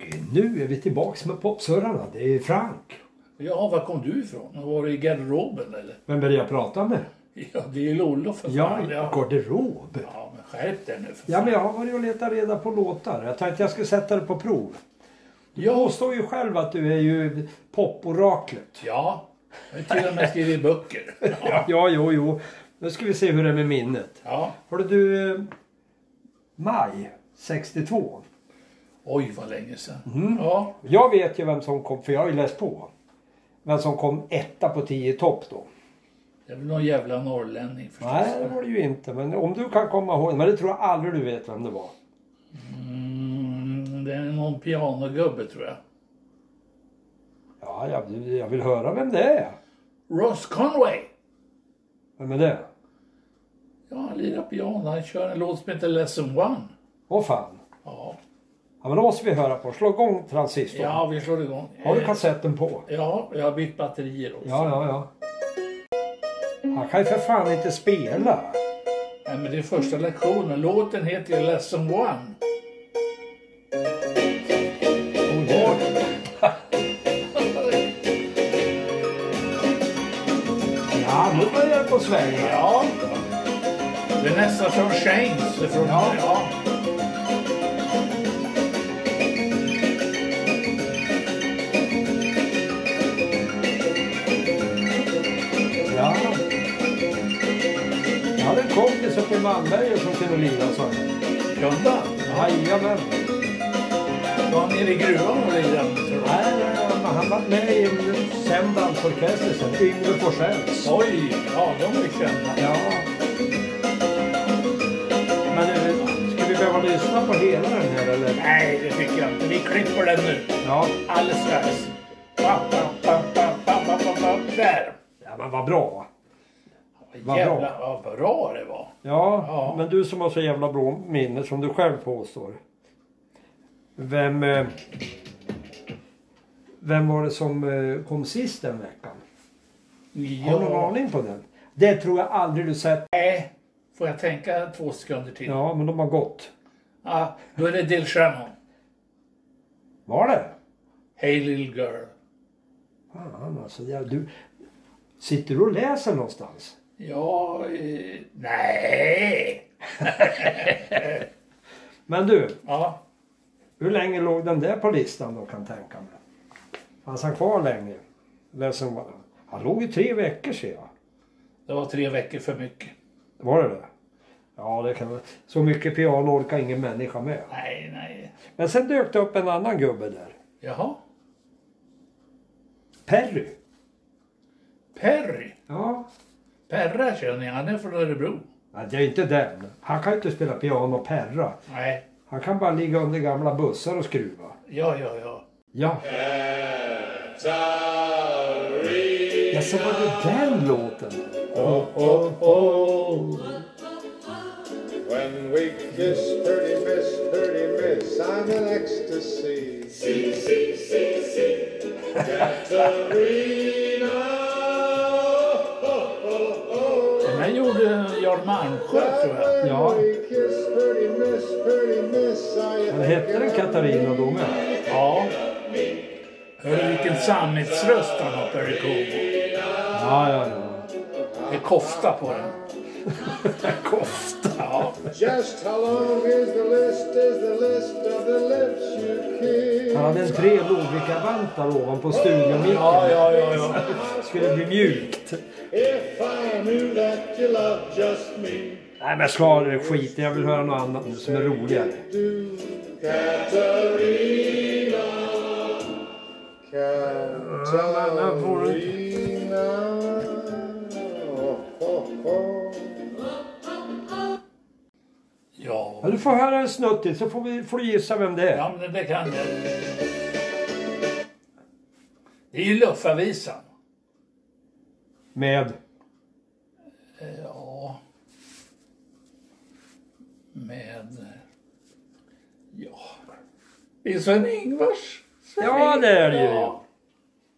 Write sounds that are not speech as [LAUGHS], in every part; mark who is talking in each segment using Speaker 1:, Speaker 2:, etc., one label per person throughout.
Speaker 1: eh, Nu är vi tillbaks med popsurrarna. Det är Frank.
Speaker 2: Jaha, var kom du ifrån? Var det i garderoben eller?
Speaker 1: Vem är det jag pratar med?
Speaker 2: Ja, det är ju Lollo för
Speaker 1: Ja,
Speaker 2: fan. Ja,
Speaker 1: garderob.
Speaker 2: ja men skärp dig nu för
Speaker 1: Ja,
Speaker 2: fan.
Speaker 1: men jag har varit och letat reda på låtar. Jag tänkte jag skulle sätta det på prov. Du
Speaker 2: Ja.
Speaker 1: påstår ju själv att du är ju poporaklet.
Speaker 2: Ja, jag har till och med skrivit böcker.
Speaker 1: Ja, ja, jo, jo. Nu ska vi se hur det är med minnet.
Speaker 2: Ja,
Speaker 1: Hörde du... eh, Maj 62.
Speaker 2: oj vad länge sedan.
Speaker 1: Mm.
Speaker 2: Ja,
Speaker 1: Jag vet ju vem som kom, för jag har ju läst på. Vem som kom etta på 10 topp då.
Speaker 2: det är väl någon jävla norrlänning förstås.
Speaker 1: Nej, det var det ju inte. Men om du kan komma ihåg. Men det tror jag aldrig du vet vem det var.
Speaker 2: Mm, det är någon pianogubbe tror jag.
Speaker 1: Ja, jag, jag vill höra vem det är.
Speaker 2: Ross Conway!
Speaker 1: Vem är det?
Speaker 2: Ja, han lirar piano. Han kör en låt som heter Lesson One.
Speaker 1: Åh fan.
Speaker 2: Ja,
Speaker 1: Ja, men då måste vi höra på. Slå igång transistorn.
Speaker 2: ja vi slår igång.
Speaker 1: Har du
Speaker 2: Eh,
Speaker 1: kassetten på?
Speaker 2: Ja, jag har bytt batterier också.
Speaker 1: Ja, ja, ja. Han kan ju för fan inte spela.
Speaker 2: Nej, men det är första lektionen. Låten heter ju Lesson One.
Speaker 1: Oh, yeah. Ja, nu börjar det på svänga.
Speaker 2: Ja. Det är nästan som Shanes. Från,
Speaker 1: Ja.
Speaker 2: ja.
Speaker 1: Ja. Jag hade en kompis uppe i Malmberget som kunde lira så här.
Speaker 2: Kunde han?
Speaker 1: Jajamän.
Speaker 2: Var han nere i gruvan och lirade? tror du?
Speaker 1: Nej, nej, nej, men han var med i en känd dansorkester sen. Yngve Forssells.
Speaker 2: Oj, ja de är ju kända.
Speaker 1: Ja. Men eh, ska vi behöva lyssna på hela den här eller?
Speaker 2: Nej, det tycker jag inte. Vi klipper den nu.
Speaker 1: Ja.
Speaker 2: Alldeles strax. Pa, pa, pa, pa, pa, pa, pa, pa. Där!
Speaker 1: Ja, men vad bra. Vad
Speaker 2: Jävlar vad bra det var.
Speaker 1: Ja,
Speaker 2: Ja.
Speaker 1: men du som har så jävla bra minne som du själv påstår. Vem... eh, Vem var det som eh, kom sist den veckan? Har du någon
Speaker 2: Ja.
Speaker 1: aning på den? Det tror jag aldrig du sett.
Speaker 2: Nej, får jag tänka två sekunder till?
Speaker 1: Ja, men de har gått.
Speaker 2: Ja, då är det Dil Shannon.
Speaker 1: Var det?
Speaker 2: Hey little girl.
Speaker 1: Fan alltså, jag, du... Sitter du och läser någonstans?
Speaker 2: Ja, eh, nej.
Speaker 1: Men du,
Speaker 2: Ja,
Speaker 1: hur länge låg den där på listan då kan tänka mig? Fanns han kvar länge? Läsen, han låg ju tre veckor ser jag.
Speaker 2: det var tre veckor för mycket.
Speaker 1: Var det det? Ja, det kan vara. Så mycket piano orkar ingen människa med.
Speaker 2: Nej, nej.
Speaker 1: Men sen dök det upp en annan gubbe där.
Speaker 2: Jaha.
Speaker 1: Perry.
Speaker 2: Perry.
Speaker 1: Ja.
Speaker 2: Perra känner jag. Han är från Örebro.
Speaker 1: Nej, det är inte den. Han kan ju inte spela piano och perra.
Speaker 2: Nej.
Speaker 1: Han kan bara ligga under gamla bussar och skruva.
Speaker 2: Ja, ja, ja.
Speaker 1: Ja. Ja, så var det den låten.
Speaker 3: Oh, oh, oh. When we kiss, pretty miss, pretty miss, I'm in ecstasy. See, see, see, see. Katarina. Oh, oh, oh.
Speaker 2: Den här gjorde Jarl Malmsjö, tror jag.
Speaker 3: When
Speaker 1: Ja.
Speaker 3: we kiss, pretty miss, pretty miss, I
Speaker 1: Men hette den Katarina då med?
Speaker 2: Ja. Hör du vilken sammetsröst han har, Perry Como.
Speaker 1: Ja, ja, ja.
Speaker 2: Det är kofta på den.
Speaker 1: Kofta.
Speaker 2: Ja.
Speaker 3: Just how long is the list, is the list of the lips you kiss?
Speaker 1: Han hade en tre Ludvika-vantar ovanpå studiomicken.
Speaker 2: Ja, ja, ja, ja.
Speaker 1: Skulle bli mjukt.
Speaker 3: If I knew that you loved just me.
Speaker 1: Nej men slå av det skit. jag vill höra något annat nu som är roligare.
Speaker 3: do Katarina Katarina oh, oh, oh.
Speaker 1: Ja,
Speaker 2: Ja,
Speaker 1: du får höra en snutt till så får, vi, får du gissa vem det är.
Speaker 2: ja men det kan jag. Det är ju Luffavisan.
Speaker 1: Med?
Speaker 2: Ja. Med... Ja. Det är Sven-Ingvars.
Speaker 1: Ja det är det ju.
Speaker 2: Ja,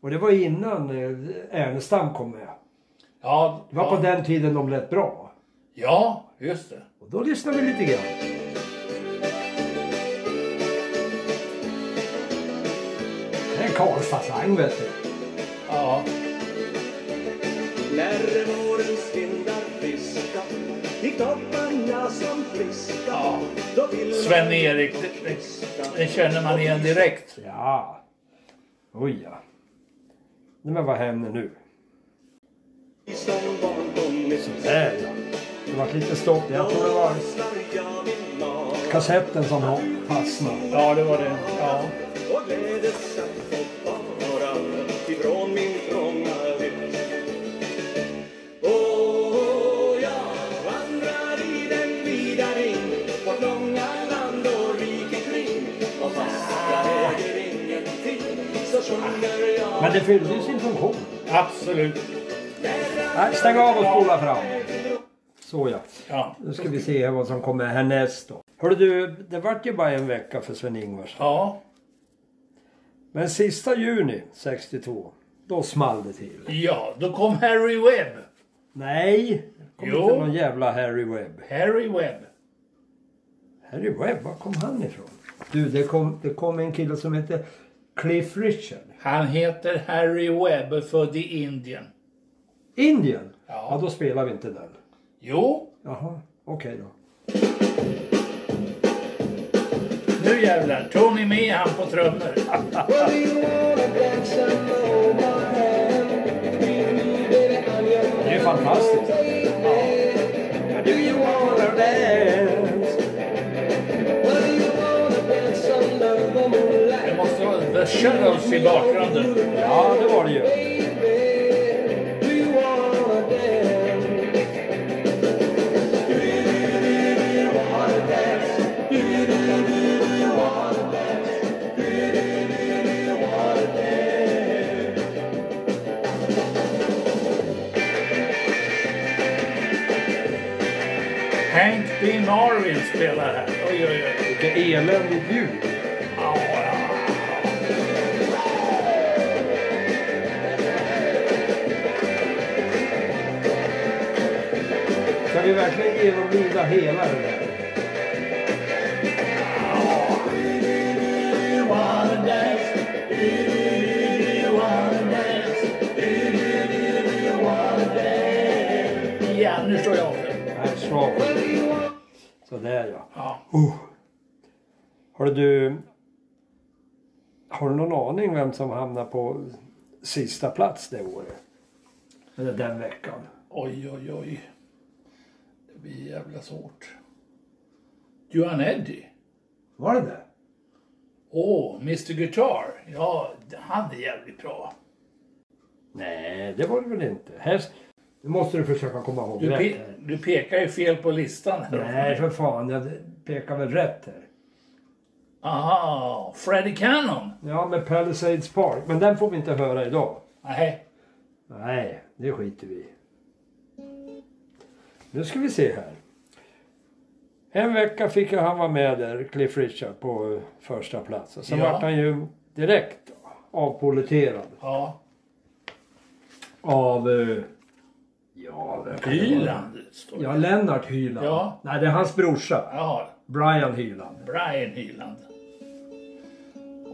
Speaker 1: Och det var innan eh, Ernestam kom med.
Speaker 2: ja,
Speaker 1: Det var på den tiden de lät bra.
Speaker 2: ja just det.
Speaker 1: Och då lyssnar vi lite grann. Karlstadsslang vet du.
Speaker 2: Ja.
Speaker 4: När vårens vindar friska gick topparna som friska
Speaker 2: Ja.
Speaker 4: Då vill man
Speaker 2: Sven-Erik,
Speaker 4: ut och
Speaker 2: det- det-
Speaker 4: fiska.
Speaker 2: Det känner man igen direkt.
Speaker 1: Ja. Oj ja. Nej, men vad händer nu?
Speaker 4: Som barn kom mitt
Speaker 1: Där ja. Det var lite stopp. Jag tror det var
Speaker 4: avsnar jag min mat
Speaker 1: kassetten som har fastnat.
Speaker 2: Ja, det var det. Ja.
Speaker 4: och glädjes att få vara ifrån min trånga lyx. Och jag vandrar i den vida ring, vårt långa land och rike kring. Och fast jag äger ingenting, så sjunger jag.
Speaker 1: Men det fyllde ju sin funktion.
Speaker 2: Absolut.
Speaker 1: Nej, stäng av och spola fram. Så ja.
Speaker 2: Ja.
Speaker 1: Nu ska vi se här vad som kommer härnäst då. Hörru du, det vart ju bara en vecka för Sven-Ingvars.
Speaker 2: Ja.
Speaker 1: Men sista juni 62, då small det till.
Speaker 2: Ja, då kom Harry Webb.
Speaker 1: Nej, kom
Speaker 2: Jo.
Speaker 1: inte någon jävla Harry Webb.
Speaker 2: Harry Webb.
Speaker 1: Harry Webb, var kom han ifrån? Du, det kom, det kom en kille som hette Cliff Richard.
Speaker 2: Han heter Harry Webb, född i Indien.
Speaker 1: Indien?
Speaker 2: Ja.
Speaker 1: då spelar vi inte den.
Speaker 2: Jo,
Speaker 1: Jaha, okej då.
Speaker 2: nu jävlar. Tony med han på trummor.
Speaker 4: Well, do you wanna dance some more, my hand? Baby, I'm your
Speaker 1: Det är fantastiskt.
Speaker 4: Do you wanna dance? Well, do you wanna dance under the moonlight?
Speaker 2: Det måste vara The Shadows i bakgrunden.
Speaker 1: Ja, det var det ju.
Speaker 4: Baby, do you wanna dance? Do you, do you, do you, do you wanna dance? Do you, do you, do you, do you wanna dance? Do you, do you, do you, do you wanna dance?
Speaker 2: Hank B. Marvin spelar här. Oj, oj, oj.
Speaker 1: Vilket eländigt ljud.
Speaker 2: Ja, ja.
Speaker 1: Ska vi verkligen genomlida hela det där?
Speaker 2: Ja, nu står jag för.
Speaker 1: Nej, svag. Sådär ja.
Speaker 2: Ja.
Speaker 1: Uh. Har du... Har du någon aning vem som hamnar på sista plats det året? Eller den veckan?
Speaker 2: Oj, oj, oj. Det blir jävla svårt. Johan Eddy.
Speaker 1: Var det det?
Speaker 2: Åh, Mr Guitar. Ja, han är jävligt bra.
Speaker 1: Nej, det var det väl inte. Här... Nu måste du försöka komma ihåg
Speaker 2: Du,
Speaker 1: rätt
Speaker 2: pe
Speaker 1: här.
Speaker 2: du pekar ju fel på listan. Här.
Speaker 1: Nej, för fan. Jag pekar väl rätt här.
Speaker 2: Aha, Freddie Cannon.
Speaker 1: Ja, med Palisades Park. Men den får vi inte höra idag.
Speaker 2: Nej,
Speaker 1: Nej, det skiter vi i. Nu ska vi se här. En vecka fick ju han vara med där, Cliff Richard, på eh, första plats. Och sen
Speaker 2: Ja.
Speaker 1: vart han ju direkt avpoliterad
Speaker 2: ja.
Speaker 1: av... eh, Ja, vem kan det vara?
Speaker 2: Hyland står det.
Speaker 1: Ja, Lennart Hyland.
Speaker 2: Ja.
Speaker 1: Nej, det är hans brorsa.
Speaker 2: Jaha,
Speaker 1: Brian Hyland.
Speaker 2: Brian Hyland.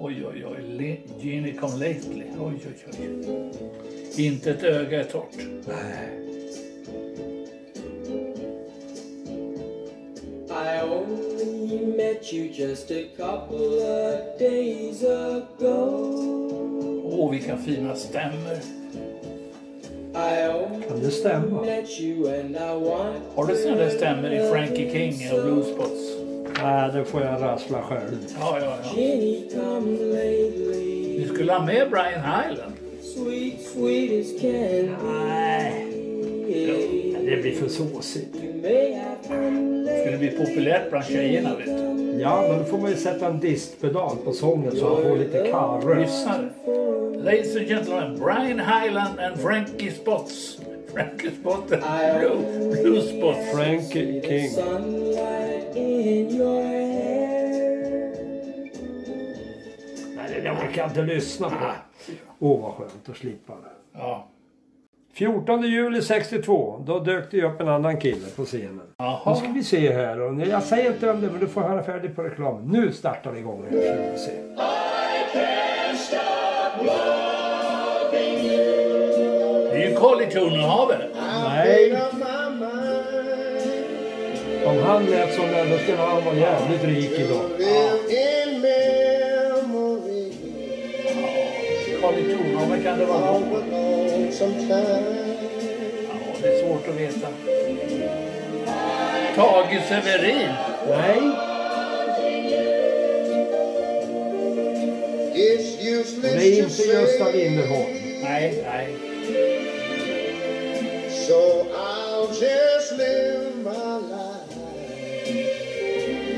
Speaker 2: Oj, oj, oj. Le- Ginny Come Lately. Oj, oj, oj. Inte ett öga är torrt.
Speaker 3: I only met you just a couple of days ago.
Speaker 2: Åh, vilka fina stämmer.
Speaker 3: I only
Speaker 1: Kan det stämma?
Speaker 3: met you and I want.
Speaker 2: Har du sådana där stämmer i Frankie King och Bluespots?
Speaker 1: Nej, det får jag rassla själv.
Speaker 2: Ja, ja, ja.
Speaker 3: Jenny come lately.
Speaker 2: Vi skulle ha med Brian Hyland.
Speaker 3: Sweet, sweet as can be.
Speaker 1: Ja, Det blir för såsigt.
Speaker 3: You may have come late.
Speaker 2: Skulle bli populärt bland tjejerna, vet du.
Speaker 1: Ja, men då får man ju sätta en distpedal på sången så han får lite karröst.
Speaker 2: Lyssnare. Ladies and gentlemen, Brian Hyland and Frankie Spots. Frankie Spots and Blue, Blue Spots.
Speaker 1: Frankie King.
Speaker 3: Sunlight in your hair.
Speaker 1: Nej, det där orkar jag inte lyssna på. Åh, vad skönt att slippa det.
Speaker 2: Ja.
Speaker 1: 14 juli 62, då dök det ju upp en annan kille på scenen. Nu
Speaker 2: Jaha.
Speaker 1: ska vi se här. Och jag säger inte om det, men du får höra färdigt på reklamen. Nu startar vi igång här. Ska vi se.
Speaker 4: I can't stop
Speaker 2: Det är ju Kollektionerhavet.
Speaker 1: Nej,
Speaker 3: Out my mind.
Speaker 1: om han lät som den då skulle han vara jävligt rik idag.
Speaker 3: Live in memory
Speaker 2: Kollektionerhavet kan det vara.
Speaker 3: of a lonesome time.
Speaker 2: Ja, det är svårt att veta. Tage Severin.
Speaker 1: Nej,
Speaker 3: It's useless
Speaker 1: det är
Speaker 3: to
Speaker 1: inte Gösta Linderholm.
Speaker 3: say.
Speaker 2: Nej, nej.
Speaker 3: So I'll just live my life.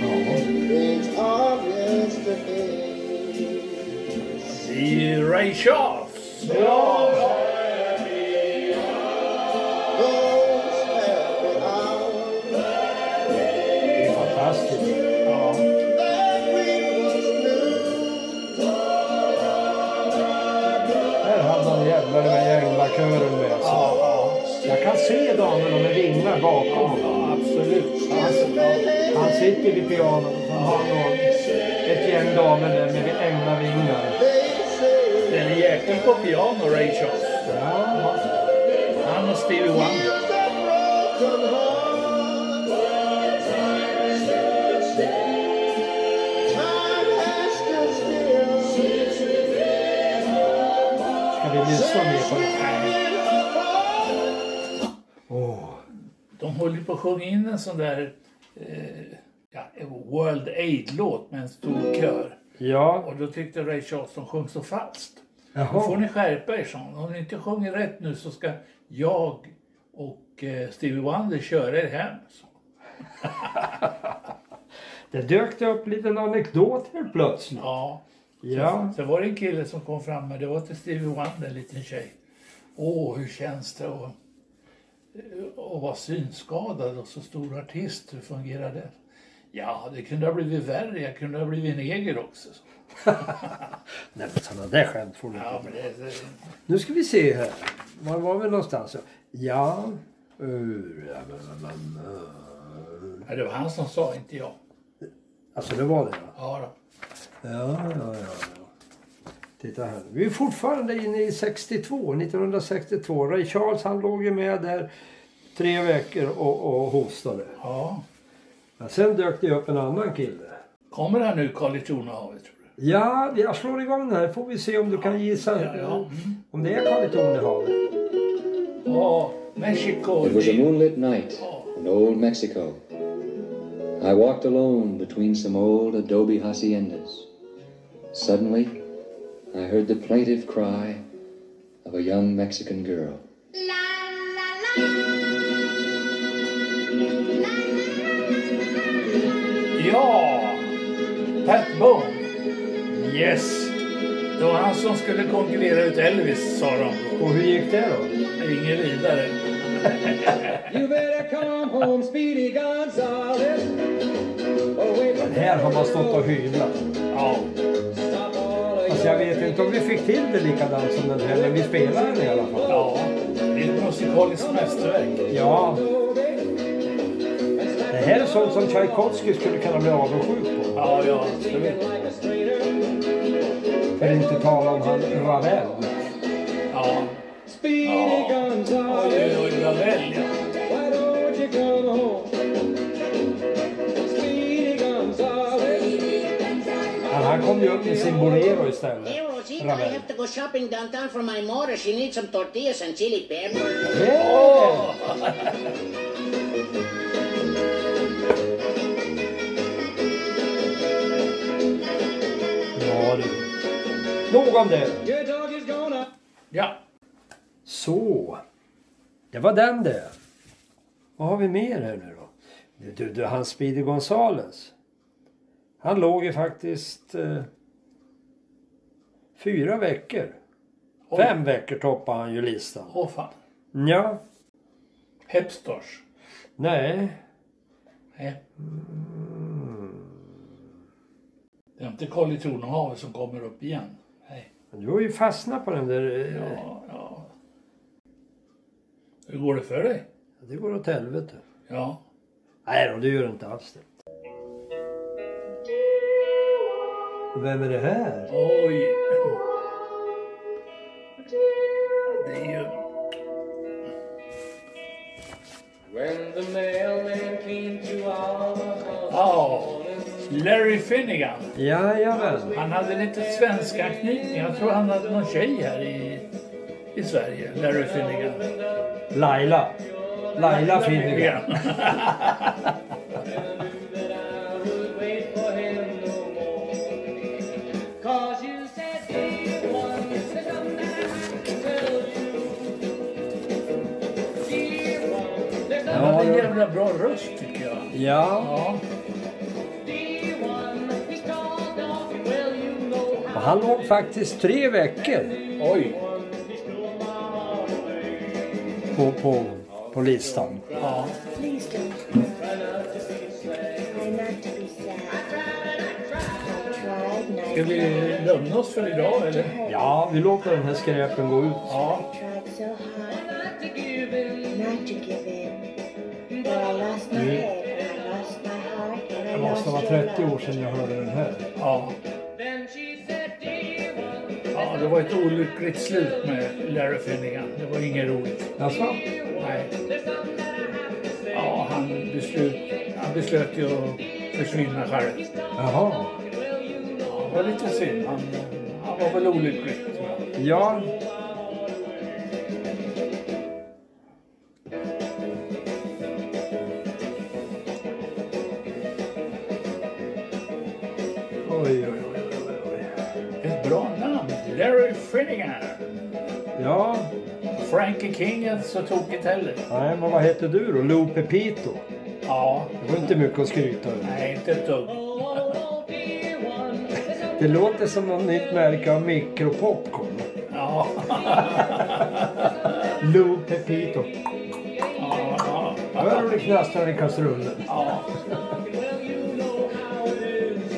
Speaker 1: Ja.
Speaker 3: Things of yesterday.
Speaker 2: Det är ju Ray Charles.
Speaker 3: Those happy hours
Speaker 1: Det är fantastiskt.
Speaker 2: Ja.
Speaker 3: that we once knew.
Speaker 1: Här hade han jävlar med gänglakören med sig.
Speaker 2: Ja, ja.
Speaker 1: Jag kan se damerna med vingar bakom honom.
Speaker 2: ja, absolut.
Speaker 1: Han sitter vid pianot och han har någon, ett gäng damer där med ängla vingar.
Speaker 2: Den är jäkeln på piano, Ray Charles.
Speaker 1: Ja,
Speaker 2: Han och Stevie Wonder.
Speaker 1: ska vi lyssna mer på det här? Åh,
Speaker 2: De höll ju på att sjunga in en sån där eh, ja, World Aid-låt med en stor kör.
Speaker 1: Ja,
Speaker 2: Och då tyckte Ray Charles de sjöng så falskt. Då får
Speaker 1: jaha.
Speaker 2: ni skärpa er, sa han. Om ni inte sjunger rätt nu så ska jag och eh, Stevie Wonder köra er hem. sa han.
Speaker 1: Det dök det upp en liten anekdot helt plötsligt.
Speaker 2: Ja.
Speaker 1: Ja,
Speaker 2: Sen var det en kille som kom fram, men det var till Stevie Wonder, en liten tjej. Åh, hur känns det att, eh, att vara synskadad och så stor artist? Hur fungerar det? Ja, det kunde ha blivit värre. Jag kunde ha blivit neger också. sa han.
Speaker 1: nej men sådana där skämt får du inte
Speaker 2: Ja, men det, det,
Speaker 1: Nu ska vi se här. Var var vi någonstans? Ja. ur-
Speaker 2: ja, det var han som sa, inte jag.
Speaker 1: Alltså det var det va?
Speaker 2: Ja, då.
Speaker 1: Ja, ja, ja. ja. Titta här. Vi är fortfarande inne i 62, 1962. Ray Charles han låg ju med där tre veckor och, och hostade.
Speaker 2: Ja.
Speaker 1: Men sen dök det upp en annan kille.
Speaker 2: Kommer han nu, Karl i Tornehavet, tror du?
Speaker 1: Ja, jag slår igång den här. Får vi se om du kan gissa
Speaker 2: Ja, ja. Mm.
Speaker 1: om det är Kalle Tornehavet.
Speaker 2: Ja, Mexico.
Speaker 5: It was a
Speaker 2: det-
Speaker 5: moonlit night in old Mexico. I walked alone between some old adobe haciendas. Suddenly, I heard the plaintive cry of a young Mexican girl.
Speaker 2: Ja! Pat Boone.
Speaker 1: Yes!
Speaker 2: Det var han som skulle konkurrera ut Elvis, sa de då.
Speaker 1: Och hur gick det då?
Speaker 2: Inget vidare.
Speaker 5: You better come home, Speedy Gonzales. Oh, Away from
Speaker 1: Här har man stått och hyvlat.
Speaker 2: Ja,
Speaker 5: Stop all of
Speaker 1: Alltså jag vet inte om vi fick till det likadant som den här, men vi spelar den i alla fall.
Speaker 2: ja. Det är ett musikaliskt mästerverk.
Speaker 1: Ja,
Speaker 5: your baby. And slap
Speaker 1: det här är sånt som Tchaikovsky skulle kunna bli avundsjuk på.
Speaker 2: Ja, ja.
Speaker 5: thinking like a strainer.
Speaker 1: För att inte tala om han Ravel.
Speaker 2: Ja.
Speaker 5: Speedy
Speaker 2: Ja. Oj,
Speaker 5: Gonzales.
Speaker 2: oj, oj, Ravel, ja.
Speaker 5: Why don't you come home? Speedy Gonzales.
Speaker 1: Men han kom ju upp med sin Bolero istället.
Speaker 6: Hey, Rosita, I
Speaker 1: Ravel.
Speaker 6: have to go shopping downtown for my mother. She needs some tortillas and chili peppers.
Speaker 1: Yeah! Ja du. Nog om det.
Speaker 5: Your dog is gonna.
Speaker 2: Ja,
Speaker 1: Så. Det var den det. Vad har vi mer här nu då? Du, du, du han Speedy Gonzales. Han låg ju faktiskt eh, fyra veckor.
Speaker 2: Oj.
Speaker 1: Fem veckor toppade han ju listan.
Speaker 2: åh fan.
Speaker 1: Ja,
Speaker 2: Hepstars.
Speaker 1: nej.
Speaker 2: Nej. Det är inte Karl i Tornehavet som kommer upp igen. Nej.
Speaker 1: Du har ju fastnat på den där. eh,
Speaker 2: Ja, ja. Hur går det för dig?
Speaker 1: Det går åt helvete.
Speaker 2: Ja.
Speaker 1: Nej då, det gör inte alls det. Vem är det här?
Speaker 2: Oj. det är ju...
Speaker 7: When the mailman came to our house
Speaker 2: Ja, Larry Finnegan.
Speaker 1: Jajamän.
Speaker 2: Han hade lite svensk anknytning. Jag tror han hade någon tjej här i, i Sverige. Larry Finnegan.
Speaker 1: Laila. Laila Finnegan.
Speaker 7: wait for him no more. Cause you said he was the dumb man to tell you. Dear one, there's
Speaker 2: Han hade en jävla bra röst tycker jag.
Speaker 1: Ja.
Speaker 2: Ja,
Speaker 7: dear one, he's called off, well you know
Speaker 1: Och han låg faktiskt tre veckor
Speaker 2: oj.
Speaker 1: på, på, på listan.
Speaker 2: Ja.
Speaker 8: Please don't. Try not to be sad. I tried and I
Speaker 2: Ska vi lugna oss för idag eller?
Speaker 8: tried.
Speaker 1: Ja, vi låter den här skräpen gå ut.
Speaker 2: Ja.
Speaker 8: I tried so hard
Speaker 7: not to give in.
Speaker 8: not to give in. But I lost my head, and I lost my heart, and I
Speaker 1: Det
Speaker 8: lost
Speaker 1: måste vara
Speaker 8: your
Speaker 1: 30
Speaker 8: love.
Speaker 1: år sedan jag hörde den här.
Speaker 2: Ja.
Speaker 7: Then she said, dear one,
Speaker 2: ja, det var ett olyckligt slut med Larry Finnegan. Det var inget roligt.
Speaker 1: Jaså?
Speaker 2: Nej.
Speaker 7: there's something that I have to say.
Speaker 2: Ja, han beslöt, han beslöt ju att försvinna själv.
Speaker 1: Jaha.
Speaker 7: Well you know
Speaker 2: Det var lite synd. Han, han var väl olycklig. tror jag.
Speaker 1: Ja. Oj, oj, oj, oj, oj.
Speaker 2: Ett bra namn. Larry Finnegan.
Speaker 1: Ja,
Speaker 2: Frankie King är inte så tokigt heller.
Speaker 1: nej, men vad heter du då? Lou Pepito?
Speaker 2: Ja.
Speaker 1: Det var inte mycket att skryta över.
Speaker 2: Nej, inte ett dugg.
Speaker 1: Det låter som något nytt märke av mikropopcorn.
Speaker 2: Ja. [LAUGHS]
Speaker 1: Lou Pepito.
Speaker 2: ja, ja,
Speaker 1: Hör hur det knastrar i kastrullen.
Speaker 2: ja.
Speaker 7: Well, you know how it is,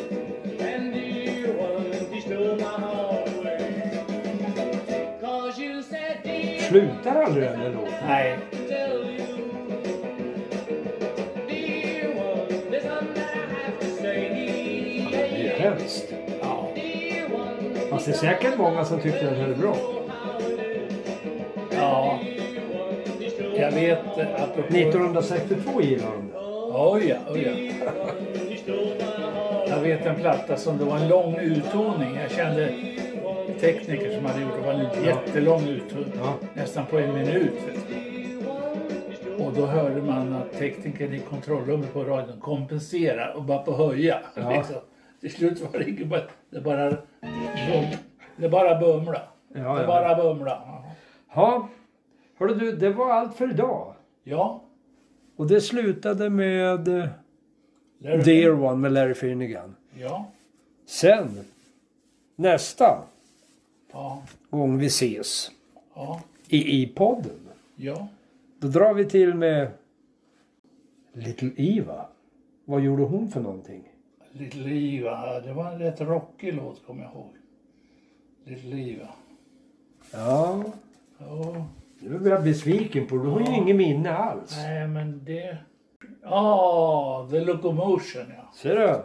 Speaker 7: and dear one, he stole my heart away. 'Cause you said, dear,
Speaker 1: Slutar aldrig den där låten?
Speaker 2: Nej.
Speaker 7: tell you, dear one, there's something that I have to
Speaker 1: Det är ju
Speaker 7: say.
Speaker 1: hemskt.
Speaker 2: Ja.
Speaker 7: Dear one,
Speaker 1: Fast det är säkert många som tyckte den här är bra.
Speaker 2: ja. Jag vet eh, apropå...
Speaker 1: 1962 gillade de den.
Speaker 2: Oj, ja, oj, ja. Jag vet en platta som det var en lång uttoning. Jag kände tekniker som hade gjort det. var en jättelång uttoning.
Speaker 1: Ja.
Speaker 2: Nästan på en minut. vet du. Och då hörde man att teknikern i kontrollrummet på radion kompensera och bara på höja.
Speaker 1: Ja.
Speaker 2: Liksom. Till slut var det inte bara... Det bara, bum, det bara bumla.
Speaker 1: Ja,
Speaker 2: det
Speaker 1: ja.
Speaker 2: bara bumla. Ja.
Speaker 1: Ja, hörru du, det var allt för idag.
Speaker 2: ja.
Speaker 1: Och det slutade med eh,
Speaker 2: där är det.
Speaker 1: Dear One med Larry Finnegan.
Speaker 2: Ja.
Speaker 1: Sen, nästa
Speaker 2: Ja.
Speaker 1: gång vi ses
Speaker 2: Ja.
Speaker 1: i, i podden,
Speaker 2: Ja.
Speaker 1: då drar vi till med Little Eva. Vad gjorde hon för någonting?
Speaker 2: Little Eva, det var en rätt rockig låt kommer jag ihåg. Little Eva.
Speaker 1: Ja,
Speaker 2: Ja,
Speaker 1: nu blir jag besviken på det. Hon har ju inget minne alls.
Speaker 2: nej men det... Ja, The Locomotion ja.
Speaker 1: Ser du?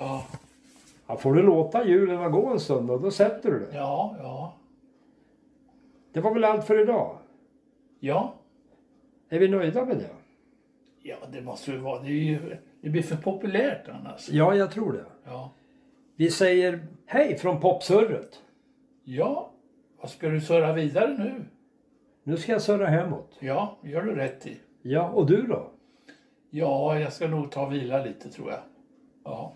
Speaker 2: Ja,
Speaker 1: Ja, får du låta hjulen gå en stund och då sätter du det.
Speaker 2: ja, ja.
Speaker 1: Det var väl allt för idag.
Speaker 2: Ja,
Speaker 1: Är vi nöjda med det?
Speaker 2: ja det måste ju vara. Det, är ju, det blir för populärt annars.
Speaker 1: Ja, jag tror det.
Speaker 2: Ja.
Speaker 1: Vi säger hej från popsurret.
Speaker 2: ja, vad ska du surra vidare nu?
Speaker 1: Nu ska jag surra hemåt.
Speaker 2: Ja, gör du rätt i.
Speaker 1: Ja, och du då?
Speaker 2: Ja, jag ska nog ta och vila lite tror jag. Ja.